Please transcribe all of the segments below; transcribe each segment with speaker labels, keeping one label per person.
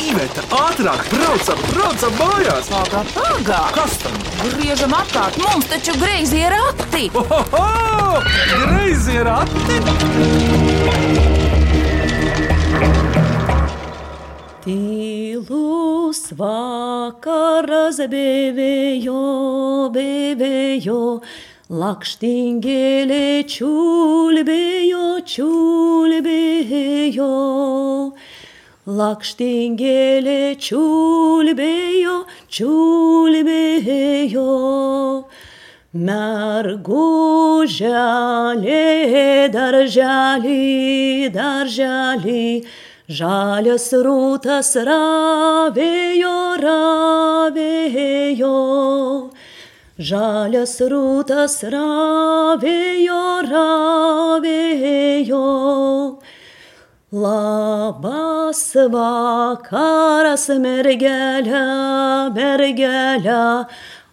Speaker 1: Iveta, ātrāk, braucam, braucam mājās!
Speaker 2: Pagā, pagā!
Speaker 1: Kas tam?
Speaker 2: Griežam apkārt, mums taču greizi ir akti!
Speaker 1: Ohoho! Greizi ir ati!
Speaker 3: Tylus vakaras bevejo, bevejo, lakštingėlė čiulbėjo, čiulbėjo. Lakštingėlė čiulbėjo, čiulbėjo. Merguželė, darželį, darželį, žalias rūtas ravėjo, ravėjo. Žalias rūtas ravėjo, ravėjo. Labas vakaras, mergelė, mergelė.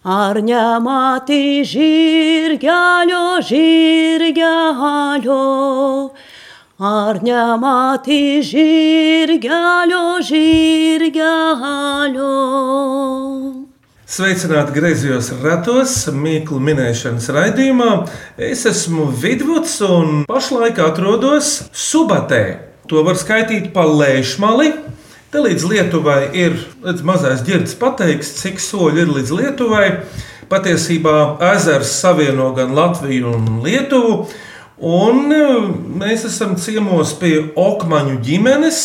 Speaker 3: Ar nematai žirgelio, žirgelio? Ar nematai žirgelio, žirgelio?
Speaker 4: Sveicināti griezījos ratos, mīklu minēšanas raidījumā. Es esmu Vidvuds un pašlaik atrodos Subatē. To var skaitīt pa lēšmali. Te līdz Lietuvai ir līdz mazais ģērbs pateiks, cik soļi ir līdz Lietuvai. Patiesībā ezers savieno gan Latviju un Lietuvu. Un eh, mēs esam ciemos pie Okmaņu ģimenes,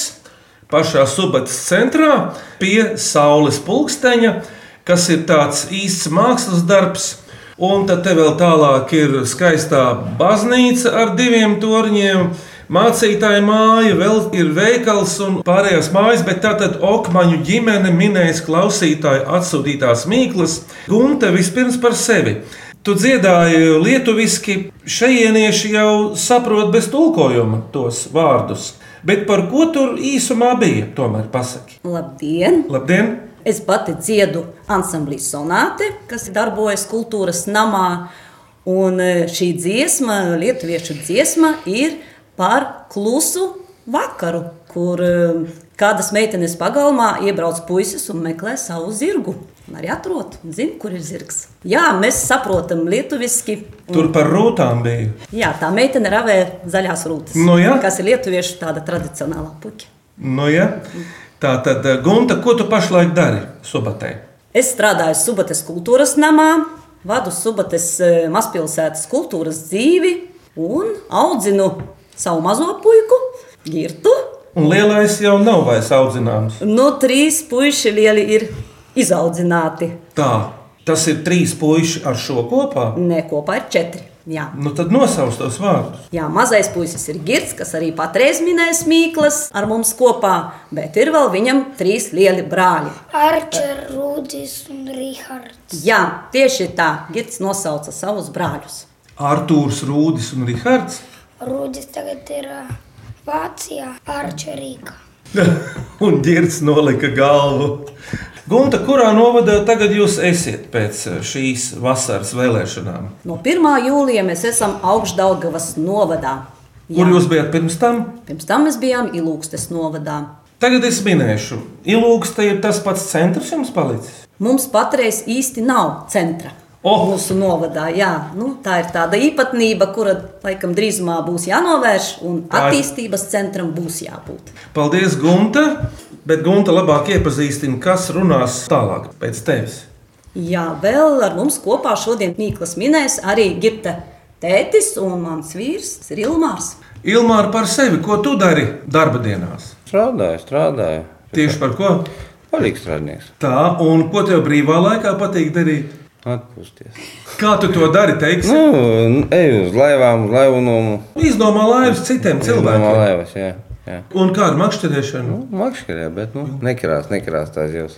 Speaker 4: pašā subatas centrā, pie saules pulksteņa, kas ir tāds īsts mākslas darbs. Un tad te vēl tālāk ir skaistā baznīca ar diviem torņiem. Mācītāja māja, vēl ir veikals un pārējās mājas, bet tā tad okmaņu ģimene minēs klausītāju atsūtītās mīklas. Gunte vispirms par sevi. Tu dziedāji lietuviski, šajienieši jau saprot bez tulkojuma tos vārdus. Bet par ko tur īsumā bija, tomēr pasaki.
Speaker 3: Labdien!
Speaker 4: Labdien!
Speaker 3: Es pati dziedu ansamblī sonāti, kas darbojas kultūras namā. Un e, šī dziesma, lietuviešu dziesma, ir par klusu vakaru, kur e, kādas meitenes pagalmā iebrauc puisis un meklē savu zirgu. Un arī atrod, un zina, kur ir zirgs. Jā, mēs saprotam lietuviski.
Speaker 4: Tur par rūtām bija.
Speaker 3: Jā, tā meitene ravē zaļās rūtas,
Speaker 4: Nu jā.
Speaker 3: kas ir lietuviešu tāda tradicionālā puķa.
Speaker 4: Nu, ja. Tā tad, eh, Gunta, ko tu pašlaik dari Subatē?
Speaker 3: Es strādāju Subates kultūras namā, vadu Subates eh, mazpilsētas kultūras dzīvi un audzinu savu mazo puiku, Girtu.
Speaker 4: Un lielais jau nav vairs audzināms.
Speaker 3: No trīs puiši lieli ir izaudzināti.
Speaker 4: Tā, tas ir trīs puiši ar šo kopā.
Speaker 3: Nē, kopā ir četri. Jā.
Speaker 4: Nu, tad nosauc tos vārdus.
Speaker 3: Jā, mazais puisis ir Girts, kas arī patreiz minēs Mīklas ar mums kopā, bet ir vēl viņam trīs lieli brāļi.
Speaker 5: Arčers, Rudis un Rihards.
Speaker 3: Jā, tieši tā, Girts nosauca savus brāļus.
Speaker 4: Artūrs, Rūdis un Rihards.
Speaker 5: Rudis tagad ir ā, Vācijā, Arčerīgā.
Speaker 4: un ģērbs nolika galvu. Gunta, kurā novadā tagad jūs esat pēc eh, šīs vasaras vēlēšanām?
Speaker 3: No 1. jūlija mēs esam augšdaļgavas novadā.
Speaker 4: Kur jūs bijat pirms tam?
Speaker 3: Pirms tam mēs bijām Ilūgstes novadā.
Speaker 4: Tagad es minēšu, Ilūgsta ir tas pats centrs jums palicis.
Speaker 3: Mums patreiz īsti nav centra.
Speaker 4: Oh!
Speaker 3: Mūsu novadā, jā, nu, tā ir tāda īpatnība, kura laikam drīzumā būs jānovērš, un
Speaker 4: Tā ir-
Speaker 3: attīstības centram būs jābūt.
Speaker 4: Paldies, Gunta! Bet Gunta labāk iepazīstina, kas runās tālāk pēc tevis.
Speaker 3: Jā, vēl ar mums kopā šodien Mīklas minēs arī Girta tētis un mans vīrs tas ir Ilmārs.
Speaker 4: Ilmāra par sevi, ko tu dari darba dienās?
Speaker 6: Strādāju, strādāju.
Speaker 4: Tieši par ko?
Speaker 6: Palīgs strādnieks.
Speaker 4: Tā, un ko tev brīvā laikā patīk darīt?
Speaker 6: Atpūsties.
Speaker 4: Kā tu to dari? Teiksi?
Speaker 6: Nu, n- eju uz laivām, uz laivunumu.
Speaker 4: Izdomā laivas citiem
Speaker 6: Domā
Speaker 4: cilvēkiem.
Speaker 6: laivas, jā. jā.
Speaker 4: Un kā ar makšķerēšanu?
Speaker 6: Nu, Makšķerē, bet nu, nekarās, nekarās tās jūs.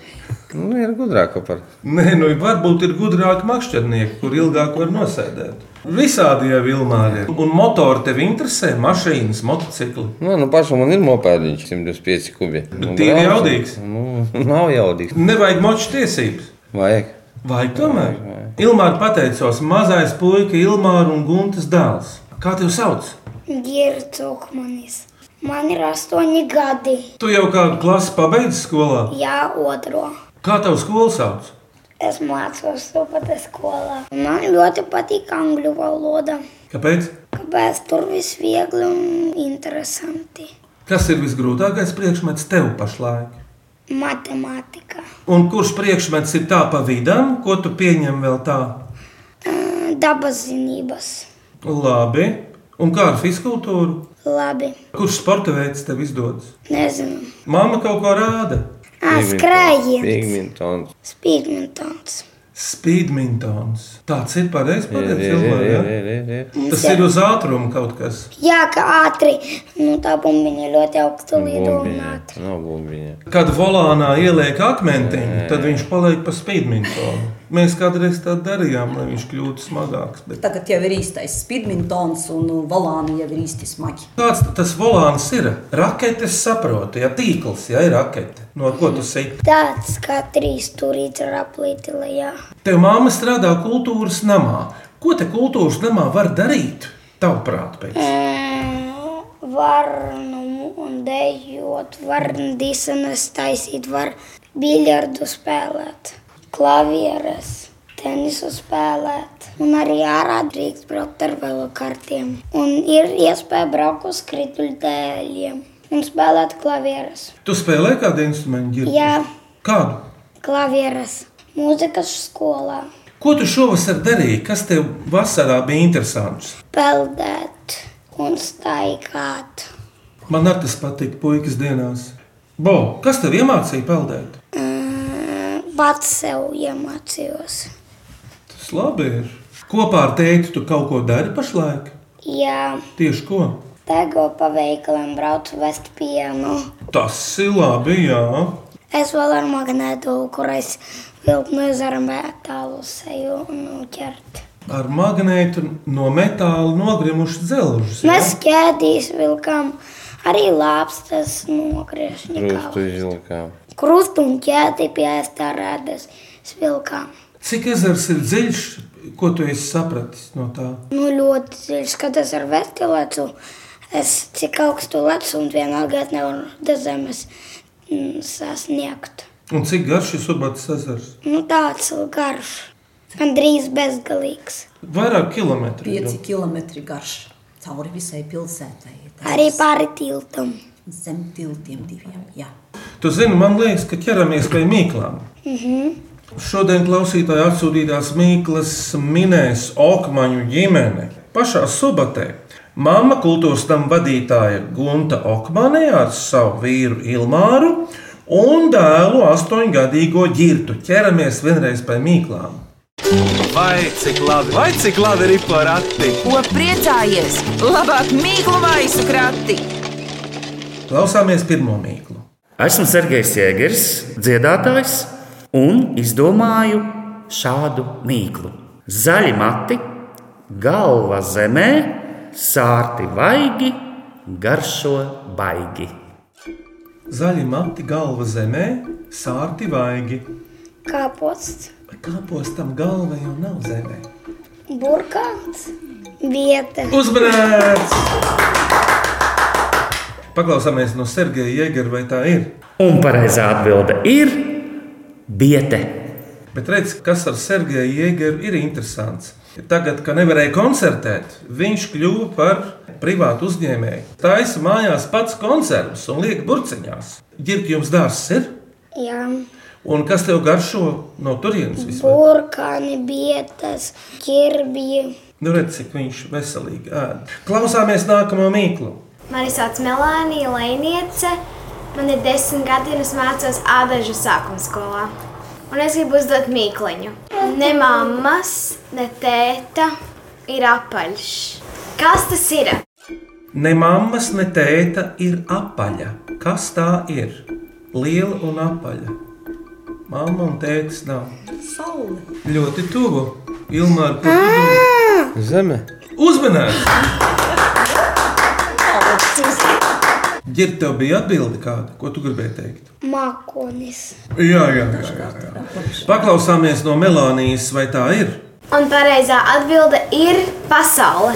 Speaker 6: Nu, ir gudrāka par.
Speaker 4: Nē, nu varbūt ir gudrāki makšķernieki, kur ilgāk var nosēdēt. Visādi jau vilnāri ir. Un motori tev interesē, mašīnas, motocikli.
Speaker 6: Nu, nu pašam man ir mopēdiņš 125 kubi. Nu,
Speaker 4: tīri
Speaker 6: braucu.
Speaker 4: jaudīgs?
Speaker 6: Nu, nav jaudīgs.
Speaker 4: Nevajag moču tiesības.
Speaker 6: Vajag.
Speaker 4: Vai tomēr? Ilmāra pateicos, mazais puika, Ilmāra un Guntas dēls. Kā tev sauc?
Speaker 5: Girts, Okmanis. Man ir astoņi gadi.
Speaker 4: Tu jau kādu klasi pabeidzi skolā.
Speaker 5: Jā, otro.
Speaker 4: Kā tev skola sauc?
Speaker 5: Es mācos supata skolā. Man ļoti patīk angļu valoda.
Speaker 4: Kāpēc?
Speaker 5: Kāpēc tur viss viegli un interesanti?
Speaker 4: Kas ir visgrūtākais priekšmets tev pašlaik?
Speaker 5: Matemātika.
Speaker 4: Un kurš priekšmets ir tā pa vidam, ko tu pieņem vēl tā?
Speaker 5: Ā, Dabas zinības.
Speaker 4: Labi. Un kā ar fizkultūru?
Speaker 5: Labi.
Speaker 4: Kurš sporta veids tev izdodas?
Speaker 5: Nezinu.
Speaker 4: Māma kaut ko rāda.
Speaker 5: Ā, Skrējiens.
Speaker 6: Pigmentons.
Speaker 5: Spīdmintons.
Speaker 4: Speedmintons. Tāds ir pareizs
Speaker 6: Ir,
Speaker 4: pareizs
Speaker 6: ir, ir, ir,
Speaker 4: cilvēks.
Speaker 6: ir, ir, ir.
Speaker 4: Tas ir uz ātrumu kaut kas.
Speaker 5: Jā, ka ātri. Nu, tā bumbiņa ļoti augstu lido un
Speaker 6: Bumbiņa.
Speaker 5: ātri.
Speaker 6: Nav bumbiņa.
Speaker 4: Kad volānā ieliek akmentiņu, tad viņš paliek pa speedmintonu. Mēs kādreiz tā darījām, lai viņš kļūtu smagāks. Bet...
Speaker 3: Tagad jau ir īstais spīdmintons un uh, valāni jau ir īsti smagi.
Speaker 4: Kāds tad tas volāns ir? Raketes saprotu, ja tīkls, ja ir rakete, no ko tu sēdi.
Speaker 5: Tāds kā trīs turīts ar aplīti lejā.
Speaker 4: Tev māma strādā kultūras namā. Ko te kultūras namā var darīt? Tavuprāt, pēc.
Speaker 5: Mm, Var nu, un dejot, var disenas taisīt, var biljardu spēlēt, klavieres, tenisu spēlēt. Un arī ārā drīkst braukt ar velokartiem. Un ir iespēja braukt uz krituļdēļiem un spēlēt klavieres.
Speaker 4: Tu spēlē kādu instrumentu? Girdi?
Speaker 5: Jā.
Speaker 4: Kādu?
Speaker 5: Klavieres, mūzikas skolā,
Speaker 4: Ko tu šovasar darīji? Kas tev vasarā bija interesants?
Speaker 5: peldēt un staigāt.
Speaker 4: Man ar tas patīk puikas dienās. Bo, kas tev iemācīja peldēt?
Speaker 5: Mm, Pats sev iemācījos.
Speaker 4: Tas labi ir. Kopā ar tēti tu kaut ko dari pašlaik?
Speaker 5: Jā,
Speaker 4: Tieši ko?
Speaker 5: tego pa veikaliem braucu vest pienu.
Speaker 4: Tas ir labi, jā.
Speaker 5: Es vēl ar magnētu, kur es vilknu ar metālu seju un ķert.
Speaker 4: ar magnētu no metāla nogrimušas dzelžus. ja?
Speaker 5: Mēs ķēdīs vilkam arī lāpstas
Speaker 6: Krustu
Speaker 5: nogriežņikā.
Speaker 6: izvilkām.
Speaker 5: Krustu un ķēdi pie estarādes svilkām.
Speaker 4: Cik ezers ir dziļš, ko tu esi sapratis no tā?
Speaker 5: Nu, ļoti dziļi skatos ar vērtību lecu. Es cik augstu lecu un vienalga es nevaru do zemes mm, sasniegt.
Speaker 4: Un cik garš ir subatas ezers?
Speaker 5: Nu, tāds garš, gandrīz bezgalīgs.
Speaker 4: Vairāk kilometru.
Speaker 3: 5 km garš cauri visai pilsētai. Tā
Speaker 5: Arī pāri tiltam.
Speaker 3: Zem tiltiem diviem. Jā.
Speaker 4: Tu zini, man liekas, ka ķeramies pie mīklām. Mm -hmm. Šodien klausītāji atsūtītās mīklas minēs Okmaņu ģimene pašā subatē. Māma kultūras tam vadītāja Gunta Okmanē ar savu vīru Ilmāru un dēlu astoņgadīgo ģirtu. Ķeramies vienreiz pie mīklām.
Speaker 1: Vai cik labi, vai cik labi ir porati?
Speaker 2: Ko priecājies? Labāk mīklu maisu krati!
Speaker 4: Klausāmies pirmo mīklu.
Speaker 7: Esmu Sergejs Jēgers, dziedātājs, un izdomāju šādu mīklu. Zaļi mati, galva zemē, sārti vaigi, garšo baigi.
Speaker 4: Zaļi mati galva zemē, sārti vaigi.
Speaker 5: Kā posts,
Speaker 4: Kāpostam galva jau nav zemē.
Speaker 5: burkāns, vieta.
Speaker 4: Uzmanīts! Paklausāmies no Sergeja Jēgera, vai tā ir.
Speaker 7: Un pareizā atbilde ir biete.
Speaker 4: Bet redziet, kas ar Sergeju Jēgeru ir interesants. Tagad, kad nevarēja koncertēt, viņš kļuva par privātu uzņēmēju. Taisa mājās pats koncertus un liek burciņās. Girdi jums dārsts ir?
Speaker 5: Jā,
Speaker 4: Un kas tev garšo no turienes vispār?
Speaker 5: burkāni, vietas, ķirbji.
Speaker 4: Nu, redziet, cik viņš veselīgi ēd. Klausāmies nākamo mīklu.
Speaker 8: Mani sauc Melānija Lēniece. Man ir desmit gadi, un es mācos Ādažu sākuma skolā. Un es gribu uzdot mīkluņu. Ne mammas, ne tēta ir apaļš. Kas tas ir?
Speaker 4: Ne mammas, ne tēta ir apaļa. Kas tā ir? Liela un apaļa. Māma un tētis nav.
Speaker 3: Saule.
Speaker 4: Ļoti tuvu. Ilmāra, ko tu domā?
Speaker 6: Zeme.
Speaker 4: Uzmanīgs! Girdi, tev bija atbilde kāda, ko tu gribēji teikt?
Speaker 5: Mākonis.
Speaker 4: Jā, jā, jā. jā, jā. Paklausāmies no Melānijas, vai tā ir?
Speaker 8: Un pareizā atbilde ir pasaule.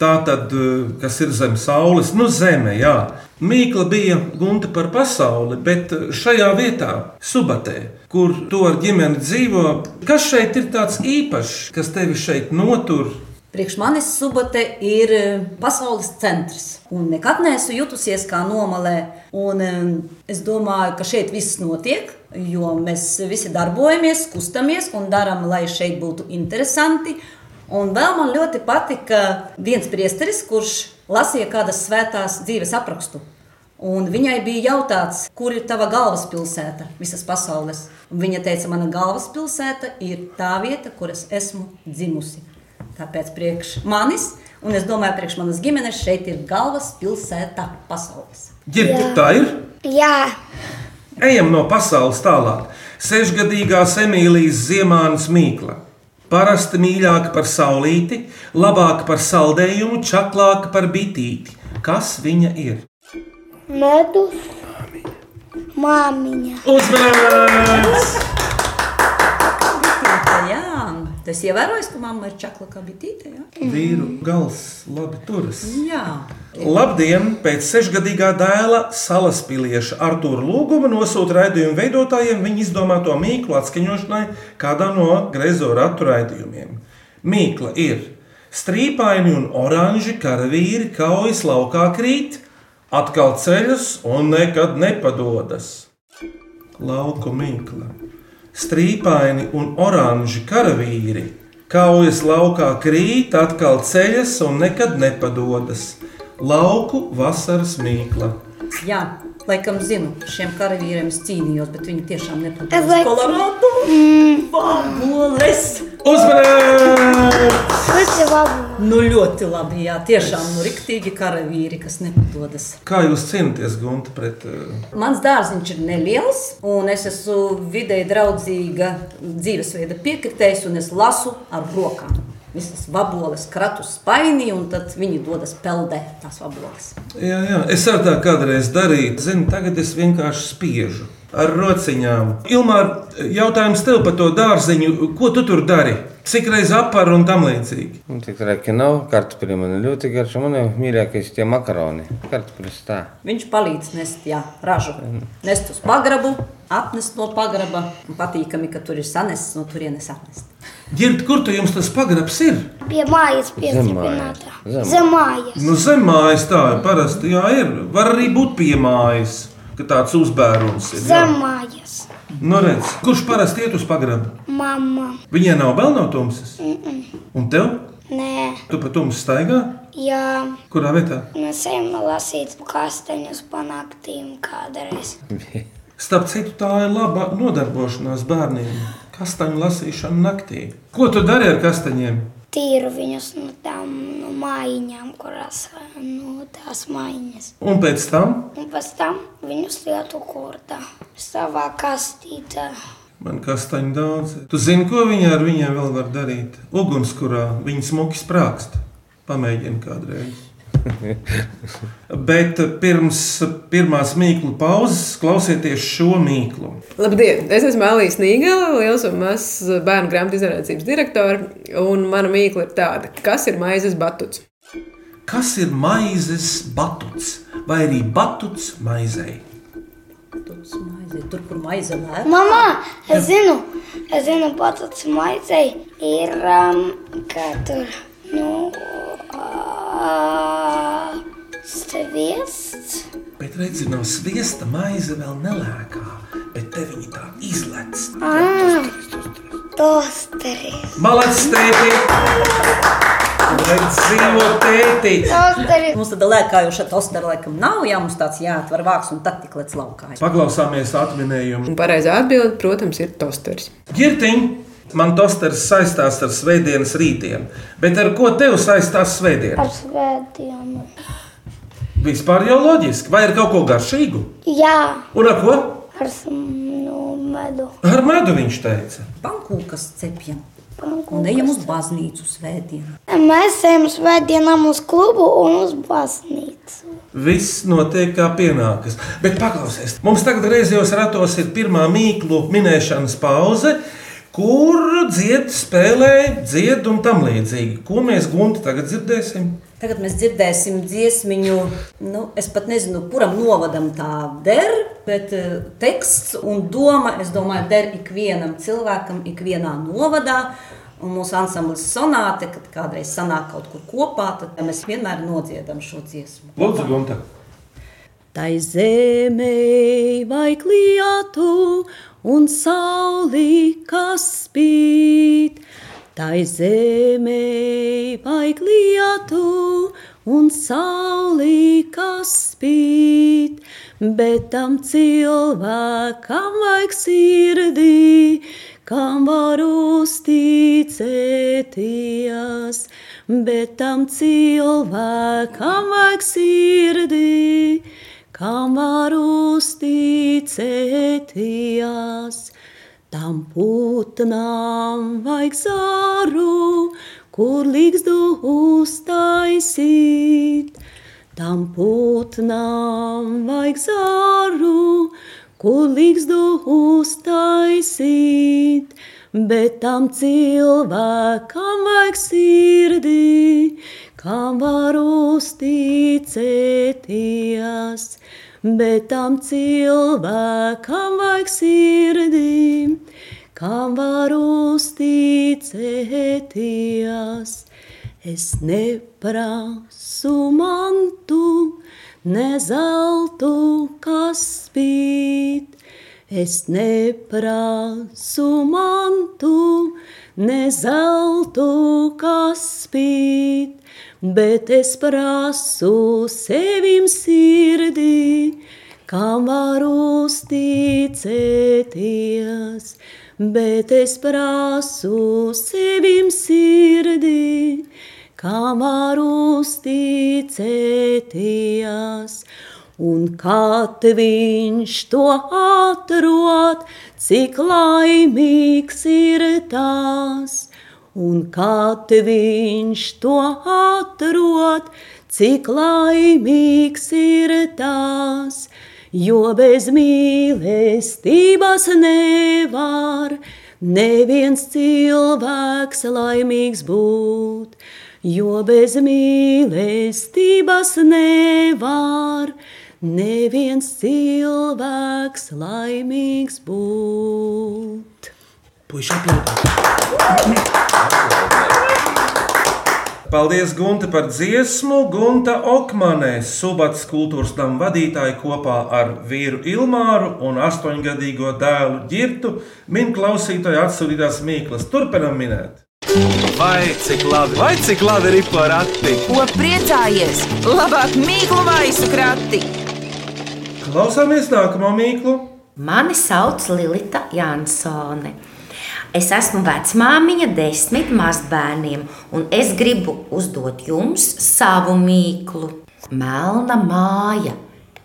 Speaker 4: Tā tad, eh, kas ir zem saules, nu zeme, jā. Mīkla bija gunta par pasauli, bet eh, šajā vietā, Subatē, kur to ar ģimeni dzīvo, kas šeit ir tāds īpašs, kas tevi šeit notur?
Speaker 3: Priekš manis subate ir e, pasaules centrs. Un nekad neesmu jutusies kā nomalē. Un, e, es domāju, ka šeit viss notiek, jo mēs visi darbojamies, kustamies un darām, lai šeit būtu interesanti. Un vēl man ļoti patika viens priesteris, kurš lasīja kādas svētās dzīves aprakstu. Un viņai bija jautāts, kur ir tava galvaspilsēta visas pasaules. Un viņa teica, mana galvaspilsēta ir tā vieta, kur es esmu dzimusi. Tāpēc priekš manis, un es domāju, priekš manas ģimenes šeit ir galvaspilsēta pasaules.
Speaker 4: Ģirdi, tā ir.
Speaker 5: Jā,
Speaker 4: Ejam no pasaules tālāk. Sešgadīgās Emīlijas Ziemānas mīkla. Parasti mīļāka par saulīti, labāka par saldējumu, čaklāka par bitīti. Kas viņa ir?
Speaker 5: medus, māmiņa.
Speaker 4: Uzmanības!
Speaker 3: Tā, jā, tas ievērojis, ka mamma ir čakla kā bitīte. Jā.
Speaker 4: Vīru gals, labi turas.
Speaker 3: jā.
Speaker 4: Labdien! Pēc sešgadīgā dēla salaspīlieša Artūra lūguma nosūta raidījumu veidotājiem viņa izdomāto mīklu atskaņošanai kādā no grezo ratu raidījumiem. Mīkla ir strīpaini un oranži karavīri kaujas laukā krīt, atkal ceļas un nekad nepadodas. Lauku mīkla. Strīpaini un oranži karavīri. Kaujas laukā krīt, atkal ceļas un nekad nepadodas. Lauku vasaras mīkla.
Speaker 3: jā, laikam zinu, šiem karavīriem es cīnījos, bet viņi tiešām
Speaker 5: Es
Speaker 3: nepatīk.
Speaker 5: laikam- Mm.
Speaker 3: Kolorādo! Fabules!
Speaker 4: Uzmanības!
Speaker 5: Ļoti labi.
Speaker 3: Nu ļoti labi, jā, tiešām nu riktīgi karavīri, kas nepadodas.
Speaker 4: Kā jūs cīnāties, Gunte, pret uh,
Speaker 3: Mans dārziņš ir neliels, un es esmu vidēji draudzīga dzīvesveida piekritējs, un es lasu ar rokām. Visas vaboles kratu spainī, un tad viņi dodas peldē tās vaboles.
Speaker 4: jā, jā. es ar tā kādreiz darīju? Zinu, tagad es vienkārši spiežu ar rociņām. Ilmār, jautājums tev par to dārziņu, ko tu tur dari? Cik reizes apar un tam līdzīgi?
Speaker 6: Nu, Tik traki nav, kartupeļi man ir ļoti garš, un man ir mīļākie tie makaroni. Kartupeļs tā.
Speaker 3: Viņš palīdz nest jā, ražu, nest uz pagrabu, atnest no pagraba. Un patīkami, ka tur ir sanests, no turienes atnest.
Speaker 4: Girdi, kur tu jums tas pagrabs ir?
Speaker 5: Pie mājas
Speaker 6: Zem
Speaker 5: piestrādātā.
Speaker 6: mājas. Zem.
Speaker 5: Zem mājas.
Speaker 4: Nu, zem mājas tā ir. Parasti jā, ir. Var arī būt pie mājas, ka tāds uzbērums ir. Nu, jā.
Speaker 5: Zem mājas.
Speaker 4: Nu, redz, kurš parasti iet uz pagrabu?
Speaker 5: Mamma.
Speaker 4: Viņai nav vēl no tumsas. Un tev?
Speaker 5: Nē,
Speaker 4: Tu pa tumsu staigā?
Speaker 5: jā. Nu,
Speaker 4: Kurā vietā?
Speaker 5: Mēs ejam lasīt kastaņus panāktīm kādreiz.
Speaker 4: Starp citu, tā ir laba nodarbošanās bērniem. Kastaņu lasīšana naktī. Ko tu dari ar kastaņiem?
Speaker 5: Tīru viņus no tām no mājiņām, kurās no tās mājiņas.
Speaker 4: Un pēc tam
Speaker 5: Un pēc tam viņus lietu kurta savā kastītā.
Speaker 4: man kastaņu daudz. ir. Tu zini, ko viņi ar viņiem vēl var darīt? Ugunskurā viņi smuki sprākst. Pamēģini kādreiz. Bet pirms pirmās mīklu pauzes klausieties šo mīklu.
Speaker 9: Labdien! Es esmu Alija Snīgala, liels un mazs bērnu grāmatu izrādības direktore. Un mana mīkla ir tāda, kas ir maizes batuts.
Speaker 4: Kas ir maizes batuts vai arī batuts maizei?
Speaker 3: Tur, maize, tur kur maize lēk.
Speaker 5: Mamā, es zinu, es zinu, pats maizei ir um, kā tur, nu, uh, sviests.
Speaker 4: Bet redziet, no sviesta maize vēl nelēkā, bet te viņi tā izlec.
Speaker 5: Ah, tosteri.
Speaker 4: Malacis, tēti! Lai dzīvo tēti!
Speaker 5: Tosteri.
Speaker 3: Mums tāda lēkājoša tostera laikam nav, jā, mums tāds jāatver vāks un tad tik lec laukā.
Speaker 4: Paklausāmies atminējumu.
Speaker 9: Un pareizā atbilde, protams, ir tosteris.
Speaker 4: Girtiņ, man tosters saistās ar svētdienas rītiem, bet ar ko tev saistās svētdiena?
Speaker 5: Ar svētdienu.
Speaker 4: Vispār jau loģiski, vai ar kaut ko garšīgu?
Speaker 5: Jā,
Speaker 4: Un ar ko?
Speaker 5: ar s- nu, medu.
Speaker 4: Ar medu viņš teica.
Speaker 3: Pankūkas cepjam
Speaker 5: Panku.
Speaker 3: un ejam uz baznīcu svētdienu.
Speaker 5: Mēs ejam svētdienām uz klubu un uz baznīcu.
Speaker 4: Viss notiek kā pienākas. Bet paklausies, mums tagad reizes ratos ir pirmā mīklu minēšanas pauze, kur dzied, spēlē, dzied un tam līdzīgi. Ko mēs gumti tagad dzirdēsim?
Speaker 3: Tagad mēs dzirdēsim dziesmiņu, nu, es pat nezinu, kuram novadam tā der, bet eh, teksts un doma, es domāju, der ikvienam cilvēkam, ikvienā novadā. Un mūsu ansamblis sonāte, kad kādreiz sanāk kaut kur kopā, tad mēs vienmēr nodziedam šo dziesmu.
Speaker 4: Lūdzu, gumti!
Speaker 3: Tai zemē vai kliatu un sauli, kas spīd. Tai zemē vai kliatu un sauli, kas spīd. Bet tam cilvēkam vajag sirdī, kam var uzticēties. Bet tam cilvēkam vajag sirdī, kam var uzticēties. Tam putnām vajag zāru, kur līgstu uztaisīt. Tam putnām vajag zāru, kur līgstu uztaisīt. Bet tam cilvēkam vajag sirdī, kam var uzticēties. Bet tam cilvēkam vajag sirdī, kam var uzticēties. Es neprasu mantu, ne zeltu, kas spīd. Es neprasu mantu, ne zeltu, kas spīd, bet es prasu sevim sirdī, kam var uzticēties. Bet es prasu sevim sirdī, kam var uzticēties. Un kad viņš to atrod, cik laimīgs ir tas, un kad viņš to atrod, cik laimīgs ir tas, jo bez mīlestības nevar neviens cilvēks laimīgs būt. Jo bez mīlestības nevar neviens cilvēks laimīgs būt.
Speaker 4: Puiši aplaudē! Paldies, Gunte, par dziesmu. Gunta Okmanē, Subats kultūras nama vadītāja kopā ar vīru Ilmāru un astoņgadīgo dēlu Girtu min klausītāju atsūtītās mīklas. Turpinam minēt!
Speaker 1: Vai cik labi, vai cik labi ir porakti?
Speaker 2: Ko priecājies? Labāk mīklu maisu krati!
Speaker 4: Klausāmies nākamo mīklu!
Speaker 10: Mani sauc Lilita Jansone. Es esmu vecmāmiņa desmit mazbērniem, un es gribu uzdot jums savu mīklu. Melna māja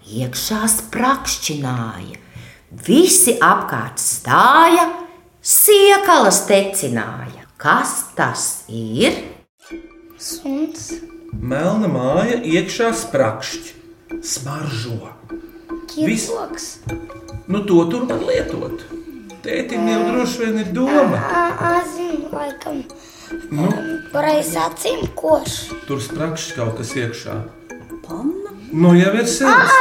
Speaker 10: iekšā sprakšķināja, visi apkārt stāja, siekalas tecināja. Kas tas ir?
Speaker 5: Suns,
Speaker 4: Melna māja iekšā sprakšķi, smaržo. Viss.
Speaker 5: kirkoks,
Speaker 4: Nu, to tur var lietot. Tētim jau droši vien ir doma.
Speaker 5: azim, laikam,
Speaker 4: Nu,
Speaker 5: pareiz acīm koš.
Speaker 4: tur sprakšķi kaut kas iekšā.
Speaker 3: Panna?
Speaker 4: Nu, jau ir sirds.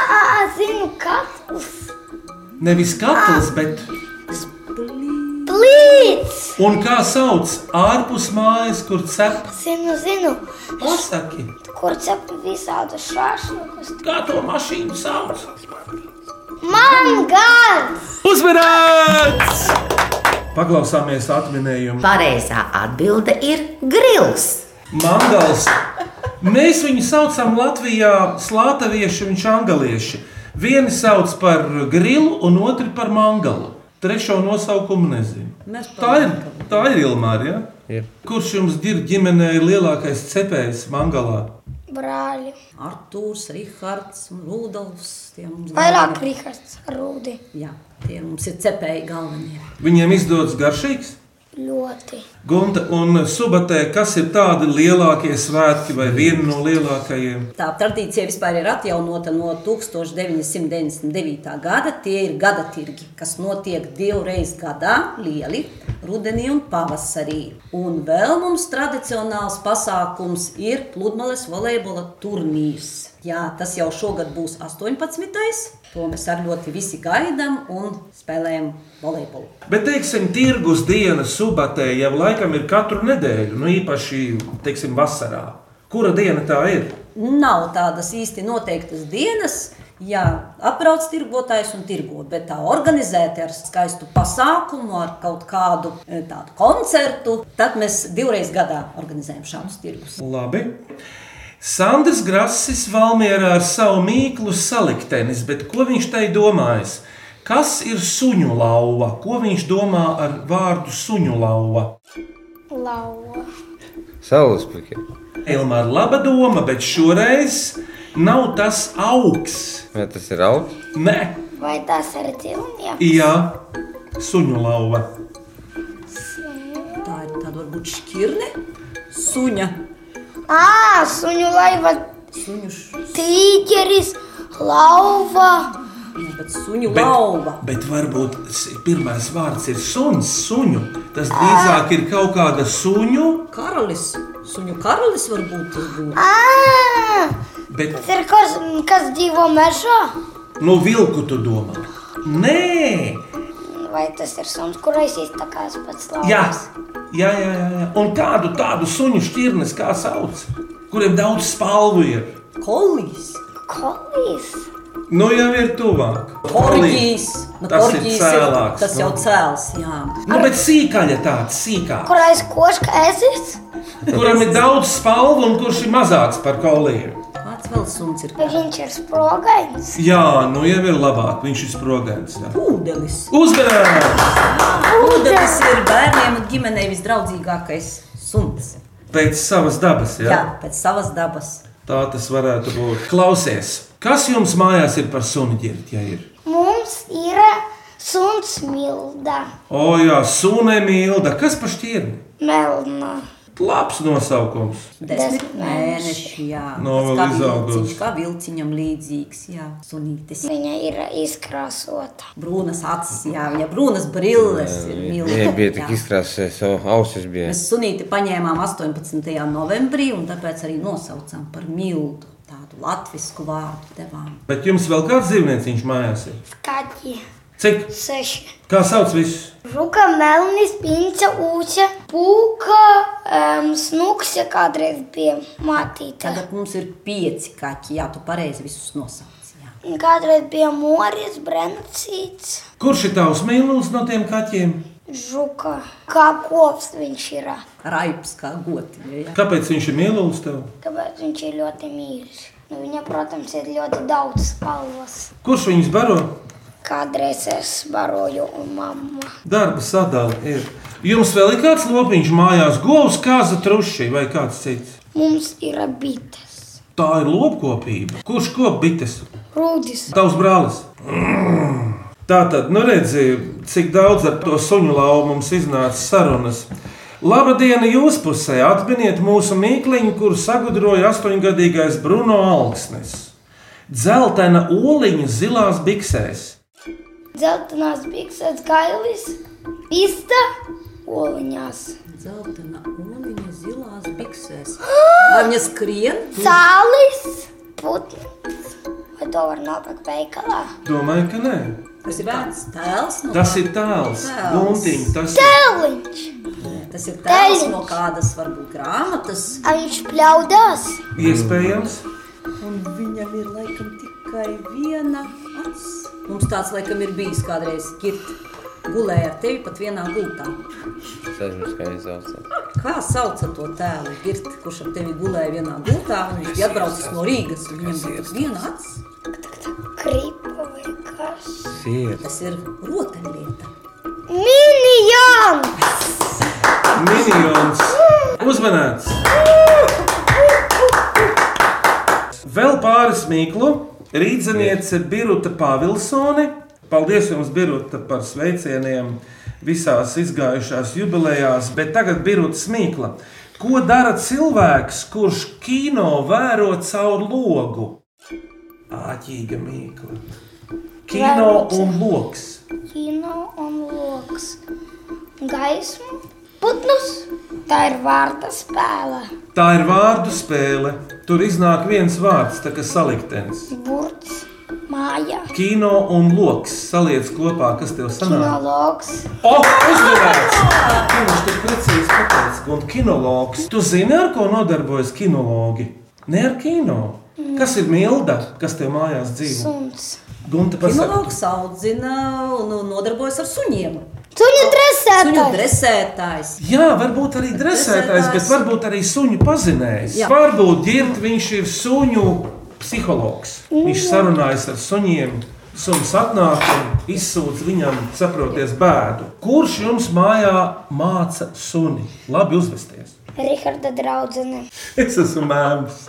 Speaker 5: Azim, katls,
Speaker 4: Nevis katls, bet
Speaker 5: plīts.
Speaker 4: un kā sauc ārpus mājas, kur cep
Speaker 5: Zinu, zinu,
Speaker 4: pasaki.
Speaker 5: kur cep visādu šāšņu.
Speaker 4: Kā to mašīnu sauc?
Speaker 5: Man gars!
Speaker 1: Uzmanīts!
Speaker 4: Paklausāmies atminējumu.
Speaker 10: Pareizā atbilde ir grils.
Speaker 4: Mandals. Mēs viņu saucam Latvijā slāpevieši un angolieši. Vienu sauc par grilu, un otru par mangalu. Trešo nosaukumu nezinu.
Speaker 3: Mēs par
Speaker 4: Tā ir, tā ir Ilmāra. Ja?
Speaker 6: Ir.
Speaker 4: Kurš jums ir ģimenē ir lielākais cepējs mangalā?
Speaker 5: Brāļi!
Speaker 3: Arthurs, Rihards un Rudolfs. Tie mums
Speaker 5: Vairāk
Speaker 3: galvenie.
Speaker 5: Rīgards, Rūdi.
Speaker 3: Jā, tie mums ir cepēji galvenie.
Speaker 4: Viņiem izdodas garšīgs.
Speaker 5: Ļoti.
Speaker 4: Gunta un Subatē, kas ir tādi lielākie svētki vai viena no lielākajiem?
Speaker 3: Tā tradīcija vispār ir atjaunota no 1999. gada. Tie ir gada tirgi, kas notiek divreiz gadā, lieli rudenī un pavasarī. Un vēl mums tradicionāls pasākums ir pludmales volejbola turnīrs. Jā, tas jau šogad būs 18. To mēs ar ļoti visi gaidām un spēlējam volejbolu.
Speaker 4: Bet, teiksim, tirgus diena subatē jau laikam ir katru nedēļu, nu īpaši, teiksim, vasarā. Kura diena tā ir?
Speaker 3: Nav tādas īsti noteiktas dienas. Jā, apbrauc tirgotājs un tirgo, bet tā organizēta ar skaistu pasākumu, ar kaut kādu e, tādu koncertu. Tad mēs divreiz gadā organizējam šādus tirgus.
Speaker 4: Labi. Sandrs Grasis Valmierā ar savu mīklu saliktenis, bet ko viņš tai domājis? Kas ir suņu lauva? Ko viņš domā ar vārdu suņu lauva?
Speaker 5: Lauva.
Speaker 6: Saulaspēki.
Speaker 4: Elmāra laba doma, bet šoreiz nav tas augs.
Speaker 6: Vai tas ir augs?
Speaker 4: Nē,
Speaker 5: Vai tas ir dzīvnieks?
Speaker 4: jā, suņu lauva.
Speaker 3: Tā ir tāda varbūt šķirne, suņa.
Speaker 5: Ā, suņu laiva,
Speaker 3: Suņuš,
Speaker 5: tīģeris, lauva.
Speaker 3: jā, nu, bet suņu bet... lauva.
Speaker 4: bet varbūt s- pirmais vārds ir suns, suņu. Tas drīzāk ir kaut kāda suņu,
Speaker 3: Karalis, suņu karalis varbūt tas būtu.
Speaker 5: Ā,
Speaker 4: bet
Speaker 5: tas ir kas, kas dzīvo mežā.
Speaker 4: no vilku tu domā. Nē,
Speaker 5: Vai tas ir suns, kurais iztakās pats lauvas?
Speaker 4: jā, jā, jā, jā, jā. Un kādu tādu suņu šķirnes kā sauc, kuriem daudz spalvu ir.
Speaker 3: Kolijs,
Speaker 5: Kolis.
Speaker 4: Nu jau ir tuvāk.
Speaker 3: korģis. Nu,
Speaker 4: Tas ir
Speaker 3: korģis
Speaker 4: cēlāks,
Speaker 3: Tas
Speaker 4: nu.
Speaker 3: jau cēls, jā.
Speaker 4: Nu, bet sīkaļa tāds, sīkāks,
Speaker 5: Kurais koška ezis?
Speaker 4: kuram ir daudz spalvu un kurš ir mazāks par kauliem.
Speaker 3: Kāds vēl suns ir?
Speaker 5: Vai viņš ir sprogains?
Speaker 4: Jā, nu jau ir labāk, viņš ir sprogams.
Speaker 3: Pūdelis.
Speaker 4: Uzmanības!
Speaker 3: Rudenis ir bērniem un ģimenei visdraudzīgākais suns.
Speaker 4: Pēc savas dabas,
Speaker 3: Jā,
Speaker 4: jā.
Speaker 3: Jā pēc savas dabas.
Speaker 4: Tā tas varētu būt. Klausies, kas jums mājās ir par sunu ģirti, ja ir?
Speaker 5: Mums ir suns milda,
Speaker 4: O, jā, sunu mīlda, kas par šķirni?
Speaker 5: melna.
Speaker 4: Labs nosaukums.
Speaker 5: Desmit
Speaker 3: Desmit mēneši, jā. Tas
Speaker 4: No, vēl
Speaker 3: kā
Speaker 4: izaugus.
Speaker 3: vilciņš, kā vilciņam līdzīgs, jā. Sunītis.
Speaker 5: Viņa ir izkrāsota.
Speaker 3: Brūnas acis, jā, viņa brūnas brilles ir
Speaker 6: Viņa bija tik
Speaker 3: milzīgas.
Speaker 6: izkrāsējusies, jau ausis bija.
Speaker 3: Mēs sunīti paņēmām 18. novembrī un tāpēc arī nosaucām par mildu. Tādu latvisku vārdu devām.
Speaker 4: Bet jums vēl kāds dzīvnieciņš mājās ir?
Speaker 5: Skaķi
Speaker 4: Cik?
Speaker 5: seši.
Speaker 4: Kā sauc visus?
Speaker 5: Žuka, melnis, pinča, ūķa, pūka, um, snukse kādreiz bija matīta.
Speaker 3: Tagad mums ir pieci kaķi, jā, tu pareizi visus nosauc. Jā.
Speaker 5: Kādreiz bija moris, brencīts,
Speaker 4: Kurš ir tavs mīlulis no tiem kaķiem?
Speaker 5: žuka. Kā kops viņš ir,
Speaker 3: Raips kā gotiņa, jā.
Speaker 4: Kāpēc viņš ir mīlulis tev?
Speaker 5: tāpēc viņš ir ļoti mīļš. Nu, viņa, protams, ir ļoti daudz spalvas.
Speaker 4: Kurš viņus baro?
Speaker 5: Kādreiz es baroju un mamma.
Speaker 4: Darba sadalījums ir. Jums vēl ir kāds lopiņš mājās, govs, kāza truši vai kāds cits?
Speaker 5: Mums ir bites.
Speaker 4: Tā ir lopkopība. Kurš kop bites?
Speaker 5: Rūdis.
Speaker 4: Tavs brālis. Mm. Tā tad, nu redziet, cik daudz ar to suņu lauvu mums iznāca sarunas. Laba diena jūsu pusē. Atminiet mūsu mīkliņu, kuru sagudroja astoņgadīgais Bruno Alksnis. Zeltaina oliņa zilās biksēs.
Speaker 5: Zeltenās bikses, gailis, pista, oliņās.
Speaker 3: Zeltainā oliņa zilās biksēs. Vai viņa skrien?
Speaker 5: Sālis, putns. Vai to var nopirkt veikalā?
Speaker 4: Domāju, ka nē.
Speaker 3: Tas ir bērns tēls no,
Speaker 4: Tas ir tāls,
Speaker 3: Tēls.
Speaker 4: guntiņ, tas ir.
Speaker 5: Peliņš.
Speaker 3: tas ir tēls
Speaker 5: Teļiņš.
Speaker 3: no kādas varbūt grāmatas.
Speaker 5: A viņš pļaudās.
Speaker 4: Iespējams,
Speaker 3: Un viņam ir laikam tikai viena acs. Mums tāds laikam ir bijis kādreiz kirt. Gulēja ar tevi pat vienā gultā.
Speaker 6: Es aizmirsu, kā viņš saucās.
Speaker 3: Kā sauca to tēlu? Girt, kurš ar tevi gulēja vienā gultā, un viņš bija atbraucis no Rīgas. un Viņam bija tikai viena acs.
Speaker 5: Kripa vai kas?
Speaker 6: Sieru.
Speaker 3: Tas ir rotaļlieta.
Speaker 5: Minion!
Speaker 4: minions uzmanīts. Vēl pāris mīklu. Rīdzeniece Birta Pāvilsone. Paldies jums, Birta, par sveicieniem visās izgājušās jubilejās, bet tagad Birta smīkla. Ko dara cilvēks, kurš kino vēro caur logu? Āķīga mīkla. Kino
Speaker 5: Vēro
Speaker 4: un loks.
Speaker 5: Kino un loks. Un gaismu, putnus. Tā ir vārta spēle.
Speaker 4: Tā ir vārdu spēle. Tur iznāk viens vārds, tā kā saliktenis.
Speaker 5: Burts, māja,
Speaker 4: Kino un loks saliec kopā, kas tev sanāk.
Speaker 5: kinologs.
Speaker 4: O, uzvarēts! Viņš tik precīzi pateica, un kinologs. Tu zini, ar ko nodarbojas kinologi? Ne ar kino. Kas ir milda, kas tev mājās dzīvo?
Speaker 5: Suns.
Speaker 4: Gunta pasaka,
Speaker 3: Kinologs audzina un un nodarbojas ar suņiem.
Speaker 5: Suņu
Speaker 3: Suņu
Speaker 5: dresētājs.
Speaker 3: dresētājs.
Speaker 4: Jā, varbūt arī dresētājs, bet varbūt arī suņu pazinējs.
Speaker 3: Jā.
Speaker 4: Varbūt ģirt, viņš ir suņu psihologs. Viņš sarunājas ar suņiem. Suns atnāk un izsūta viņam, saprotiet, bēdu. Kurš jums mājā māca suni labi uzvesties?
Speaker 5: Riharda draudzene.
Speaker 4: Es esmu mēms.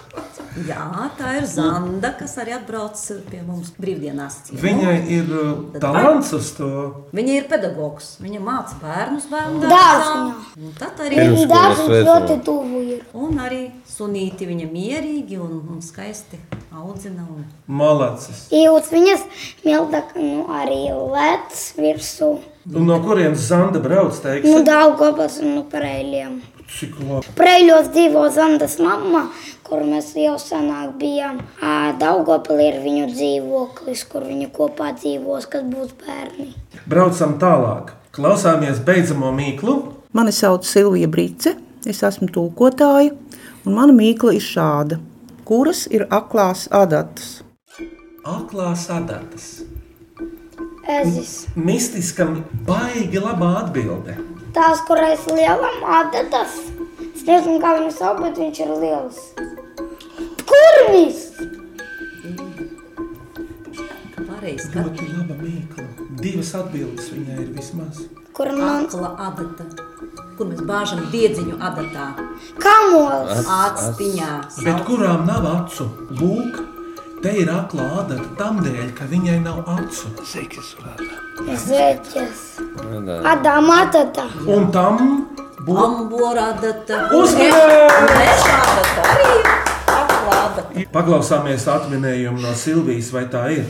Speaker 3: Jā, tā ir Zanda, kas arī atbrauc eh, pie mums brīvdienās. ciemos.
Speaker 4: Viņai ir uh, talants uz to.
Speaker 3: Viņa ir pedagogs. Viņa māca bērnus bērnu
Speaker 5: Dārziņā.
Speaker 3: Un Tad arī
Speaker 6: Ir uz
Speaker 5: Dārzs
Speaker 6: skolas
Speaker 5: ļoti
Speaker 6: vēstule.
Speaker 5: tuvu ir.
Speaker 3: Un arī sunīti viņa mierīgi un, un skaisti audzina. Un...
Speaker 4: Malacis.
Speaker 5: Jūt viņas mildāk, nu arī lec virsū.
Speaker 4: Un no kurienes zanda brauc?
Speaker 5: Nu,
Speaker 4: Teiksit,
Speaker 5: Daugavas un nu, Preļiem.
Speaker 4: cik labi.
Speaker 5: Preļos dzīvo Zandas mamma, kur mēs jau senāk bijām. Daugavpilī ir viņu dzīvoklis, kur viņi kopā dzīvos, kad būs bērni.
Speaker 4: Braucam tālāk. Klausāmies beidzamo mīklu.
Speaker 11: Mani sauc Silvija Brīce, es esmu tūkotāja, un mana mīkla ir šāda. Kuras ir aklās adatas?
Speaker 4: Aklās adatas.
Speaker 5: Ezis.
Speaker 4: Mistiskam baigi labā atbilde.
Speaker 5: Tās, kuras lielam adatas, es nezinu, kā viņu sauc, bet viņš ir liels. Kurmis?
Speaker 3: Pareizi, ka
Speaker 4: Ļoti laba mīkla. Divas atbildes viņai ir vismaz.
Speaker 5: Kur man?
Speaker 3: akla adata, kur mēs bāžam diedziņu adatā,
Speaker 5: Kamols.
Speaker 3: atstiņā.
Speaker 4: Bet kurām nav acu? Lūk, te ir aklā adata tam dēļ, ka viņai nav acu.
Speaker 5: Zeķis.
Speaker 6: Nē,
Speaker 5: Adama adata.
Speaker 4: Un tam būtu
Speaker 3: Ambora adata.
Speaker 4: uzmanība!
Speaker 3: Meža adata arī akla adata.
Speaker 4: Paklausāmies atminējumu no Silvijas, vai tā ir.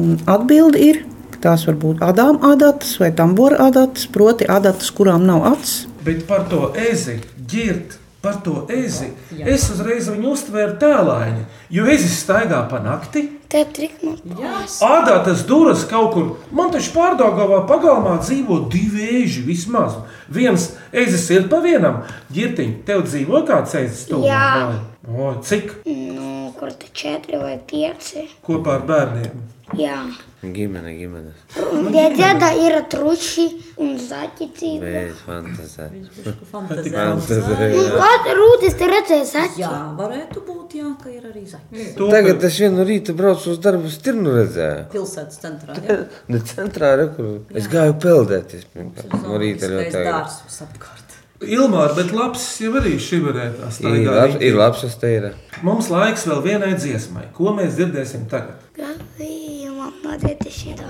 Speaker 11: Un atbilde ir, ka tās var būt adām adatas vai tambora adatas, proti adatas, kurām nav acis.
Speaker 4: Bet par to ezi ģirt. Par to ezi. Es uzreiz viņu uztvēru tēlāņa, jo ezi staigā pa nakti,
Speaker 5: Te trikmata.
Speaker 4: Ādātas durvis kaut kur. Man taču pārdagāvā pagalmā dzīvo divi eži vismaz. Viens ezis ir pa vienam. Girtiņ, tev dzīvo kāds ezis to
Speaker 5: Jā.
Speaker 4: O, cik
Speaker 5: Nu, kur te četri vai pieci?
Speaker 4: kopā ar bērniem?
Speaker 5: Jā.
Speaker 6: ģimene, ģimene.
Speaker 5: Un pie dēda ir truši un zaķi dzīvo.
Speaker 6: Bez fantazijas.
Speaker 3: Fantazē.
Speaker 6: Fantazija.
Speaker 5: Kāda rūtis te redzēja zaķi?
Speaker 3: Jā, varētu būt, jā, ka ir arī zaķis.
Speaker 4: To,
Speaker 6: Tagad es vienu rītu braucu uz darbu, stirnu redzēju.
Speaker 3: Pilsētas centrā. jā.
Speaker 6: Ne centrā, re, kur es gāju peldēties. pirmkārt. No rīta
Speaker 3: Skaists
Speaker 6: ļoti agri.
Speaker 3: dārzs visapkārt.
Speaker 4: Ilmār, bet labs jau arī šivarētā
Speaker 6: Ir
Speaker 4: staigā.
Speaker 6: labs- Ir labs, tas te ir.
Speaker 4: Mums laiks vēl vienai dziesmai. Ko mēs dzirdēsim tagad?
Speaker 5: Gavījumam no dētišķīdā.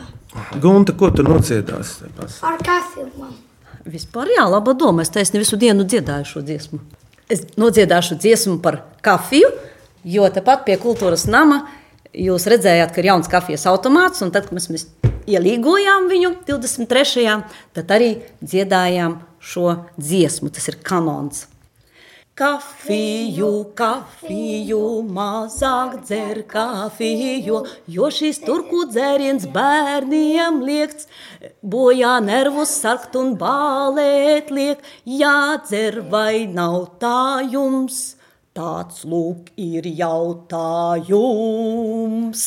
Speaker 4: Gunta, ko tu nociedās?
Speaker 5: Ar kafilmam.
Speaker 3: Vispār jā, laba doma. Es taisnība visu dienu dziedāju šo dziesmu. Es nodziedāšu dziesmu par kafiju, jo tepat pie kultūras nama jūs redzējāt, ka ir jauns kafijas automāts. un Tad, kad mēs, mēs ielīgojām viņu 23. tad arī dziedājām šo dziesmu. Tas ir kanons. Kafiju, kafiju, mazāk dzer kafiju, jo šis turku dzēriens bērniem liekts, bojā nervus sarkt un bālēt liek, jādzer vai nav tā jums. Tāds lūk ir jautājums.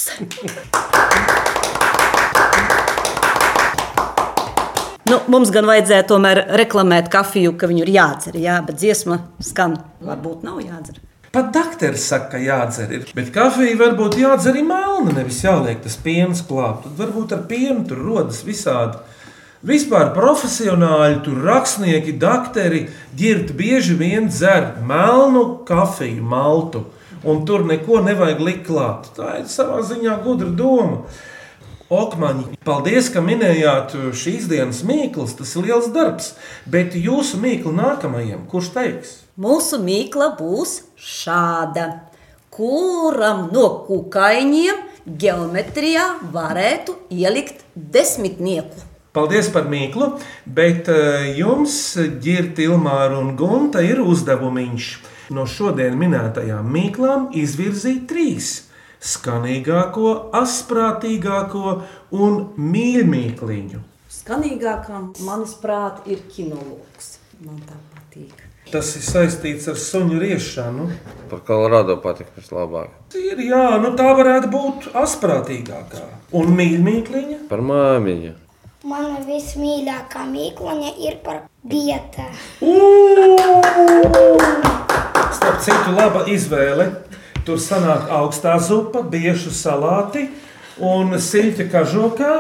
Speaker 3: Nu, mums gan vajadzēja tomēr reklamēt kafiju, ka viņu ir jādzer, jā, bet dziesma skan. Varbūt nav jādzer.
Speaker 4: Pat dakteris saka, ka jādzer ir. Bet kafija varbūt jādzer arī melna, nevis jāliek tas piens klāt. Tad varbūt ar pienu tur rodas visādi. Vispār profesionāļi, tur rakstnieki, dakteri ģirbti bieži vien dzer melnu kafiju, maltu. Un tur neko nevajag likt klāt. Tā ir savā ziņā gudra doma. Okmaņi, paldies, ka minējāt šīs dienas mīklu. Tas ir liels darbs, bet jūsu mīklu nākamajam, kurš teiks?
Speaker 3: Mūsu mīkla būs šāda. Kuram no kukaiņiem geometrijā varētu ielikt desmitnieku?
Speaker 4: Paldies par mīklu, bet eh, jums, Girta, Ilmāra un Gunta, ir uzdevumiņš. No šodien minētajām mīklām izvirzīt trīs - skanīgāko, asprātīgāko un mīļākāko.
Speaker 3: Skanīgākā, manuprāt, ir kinologs. Man tā patīk.
Speaker 4: Tas ir saistīts ar suņu riešanu.
Speaker 6: Par Kolorādo patīk vislabāk.
Speaker 4: Ir, jā, nu tā varētu būt asprātīgākā un mīļākā.
Speaker 6: Par māmiņu.
Speaker 5: Mana vismīļākā mīkloņa ir par bieta.
Speaker 4: Starp citu, laba izvēle. Tur sanāk augstā zupa, biešu salāti un silti kažokā.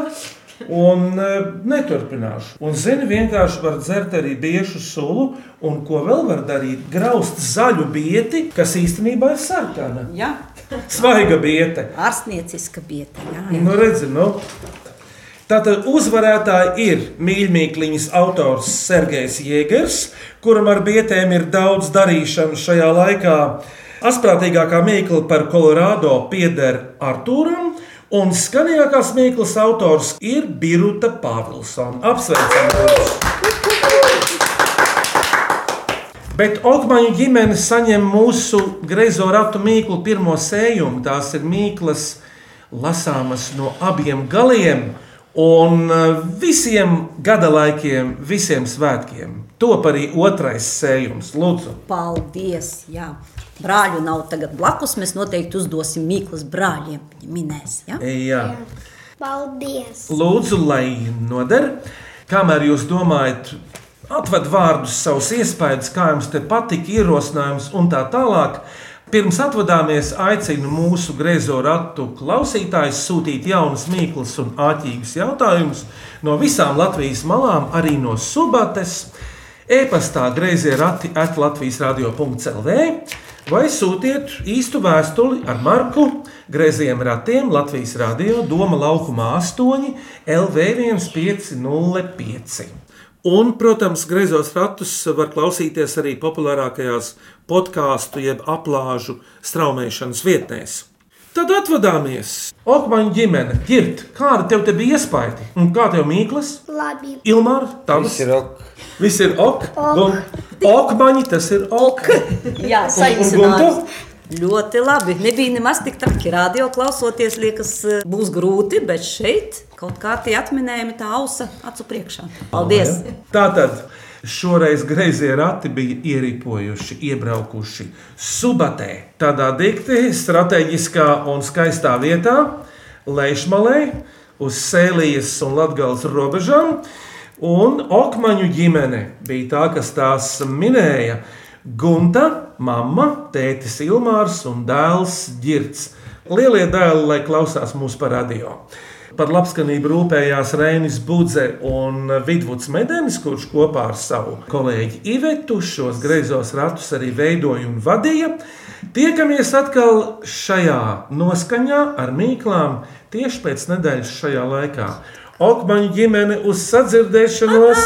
Speaker 4: Un e, neturpināšu. Un, zini, vienkārši var dzert arī biešu sulu, un ko vēl var darīt? Graust zaļu bieti, kas īstenībā ir sarkana.
Speaker 3: Jā,
Speaker 4: Svaiga biete.
Speaker 3: ārstnieciska vieta. Jā, jā.
Speaker 4: Nu, redzi, nu. Tātad uzvarētāji ir mīļākās autors Sergejs Jēgers, kuram ar bietēm ir daudz darīšanu šajā laikā. Asprātīgākā mīkla par Kolorādo pieder Artūram, un skanīgākās mīklas autors ir Birta Pāvilsona. Apsveicam! Birut! Bet Okmaņa ģimene saņem mūsu greizo ratu mīklu pirmo sējumu. Tās ir mīklas, lasāmas no abiem galiem un eh, visiem gadalaikiem, visiem svētkiem. Top arī otrais sējums, lūdzu.
Speaker 3: Paldies! Jā. Brāļu nav tagad blakus. Mēs noteikti uzdosim mīklas brāļiem. Viņi minēs, jā?
Speaker 4: Jā.
Speaker 5: Paldies!
Speaker 4: Lūdzu, lai noder. Kamēr jūs domājat, atved vārdus, savus iespējas, kā jums te patika, ierosinājums un tā tālāk. Pirms atvadāmies, aicinu mūsu griezo ratu klausītājus sūtīt jaunas, mīklas un āķīgas jautājumus no visām Latvijas malām, arī no Subates. E-pastā griezie rati atlatvijas radio.clv vai sūtiet īstu vēstuli ar marku grieziem ratiem Latvijas radio Doma laukumā 8 LV1505. Un, protams, griezos ratus var klausīties arī populārākajās podkāstu jeb aplāžu straumēšanas vietnēs. Tad atvadāmies. Okmaņa ģimene, Girt, kāda tev te bija iespaidi? Un kā tev mīklas?
Speaker 5: Labi!
Speaker 4: Ilmāra, tavs
Speaker 6: Viss ir ok.
Speaker 4: Viss ir ok.
Speaker 5: Ok.
Speaker 4: Gun- Okmaņi, tas ir ok.
Speaker 3: Jā,
Speaker 4: Un- un
Speaker 3: saīsinājums. Ļoti labi. Nebija nemaz tik traki. Radio klausoties, liekas, eh, būs grūti, bet šeit kaut kā tie atminējumi tā ausa acu priekšā. Paldies!
Speaker 4: Tātad šoreiz greizie rati bija ieripojuši, iebraukuši subatē, tādā dikti, strateģiskā un skaistā vietā, Leišmalē, uz Sēlijas un Latgales robežām. Un Okmaņu ģimene bija tā, kas tās minēja. Gunta, mamma, tētis Ilmārs un dēls Girts. Lielie dēli, lai klausās mūsu par radio. Par labskanību rūpējās Rēnis Budze un Vidvuds Medenis, kurš kopā ar savu kolēģi Ivetu šos greizos ratus arī veidoja un vadīja. Tiekamies atkal šajā noskaņā ar mīklām tieši pēc nedēļas šajā laikā. Okmaņu ģimene uz sadzirdēšanos,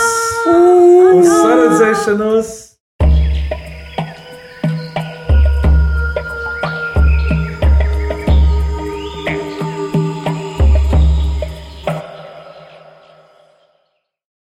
Speaker 4: uz saredzēšanos!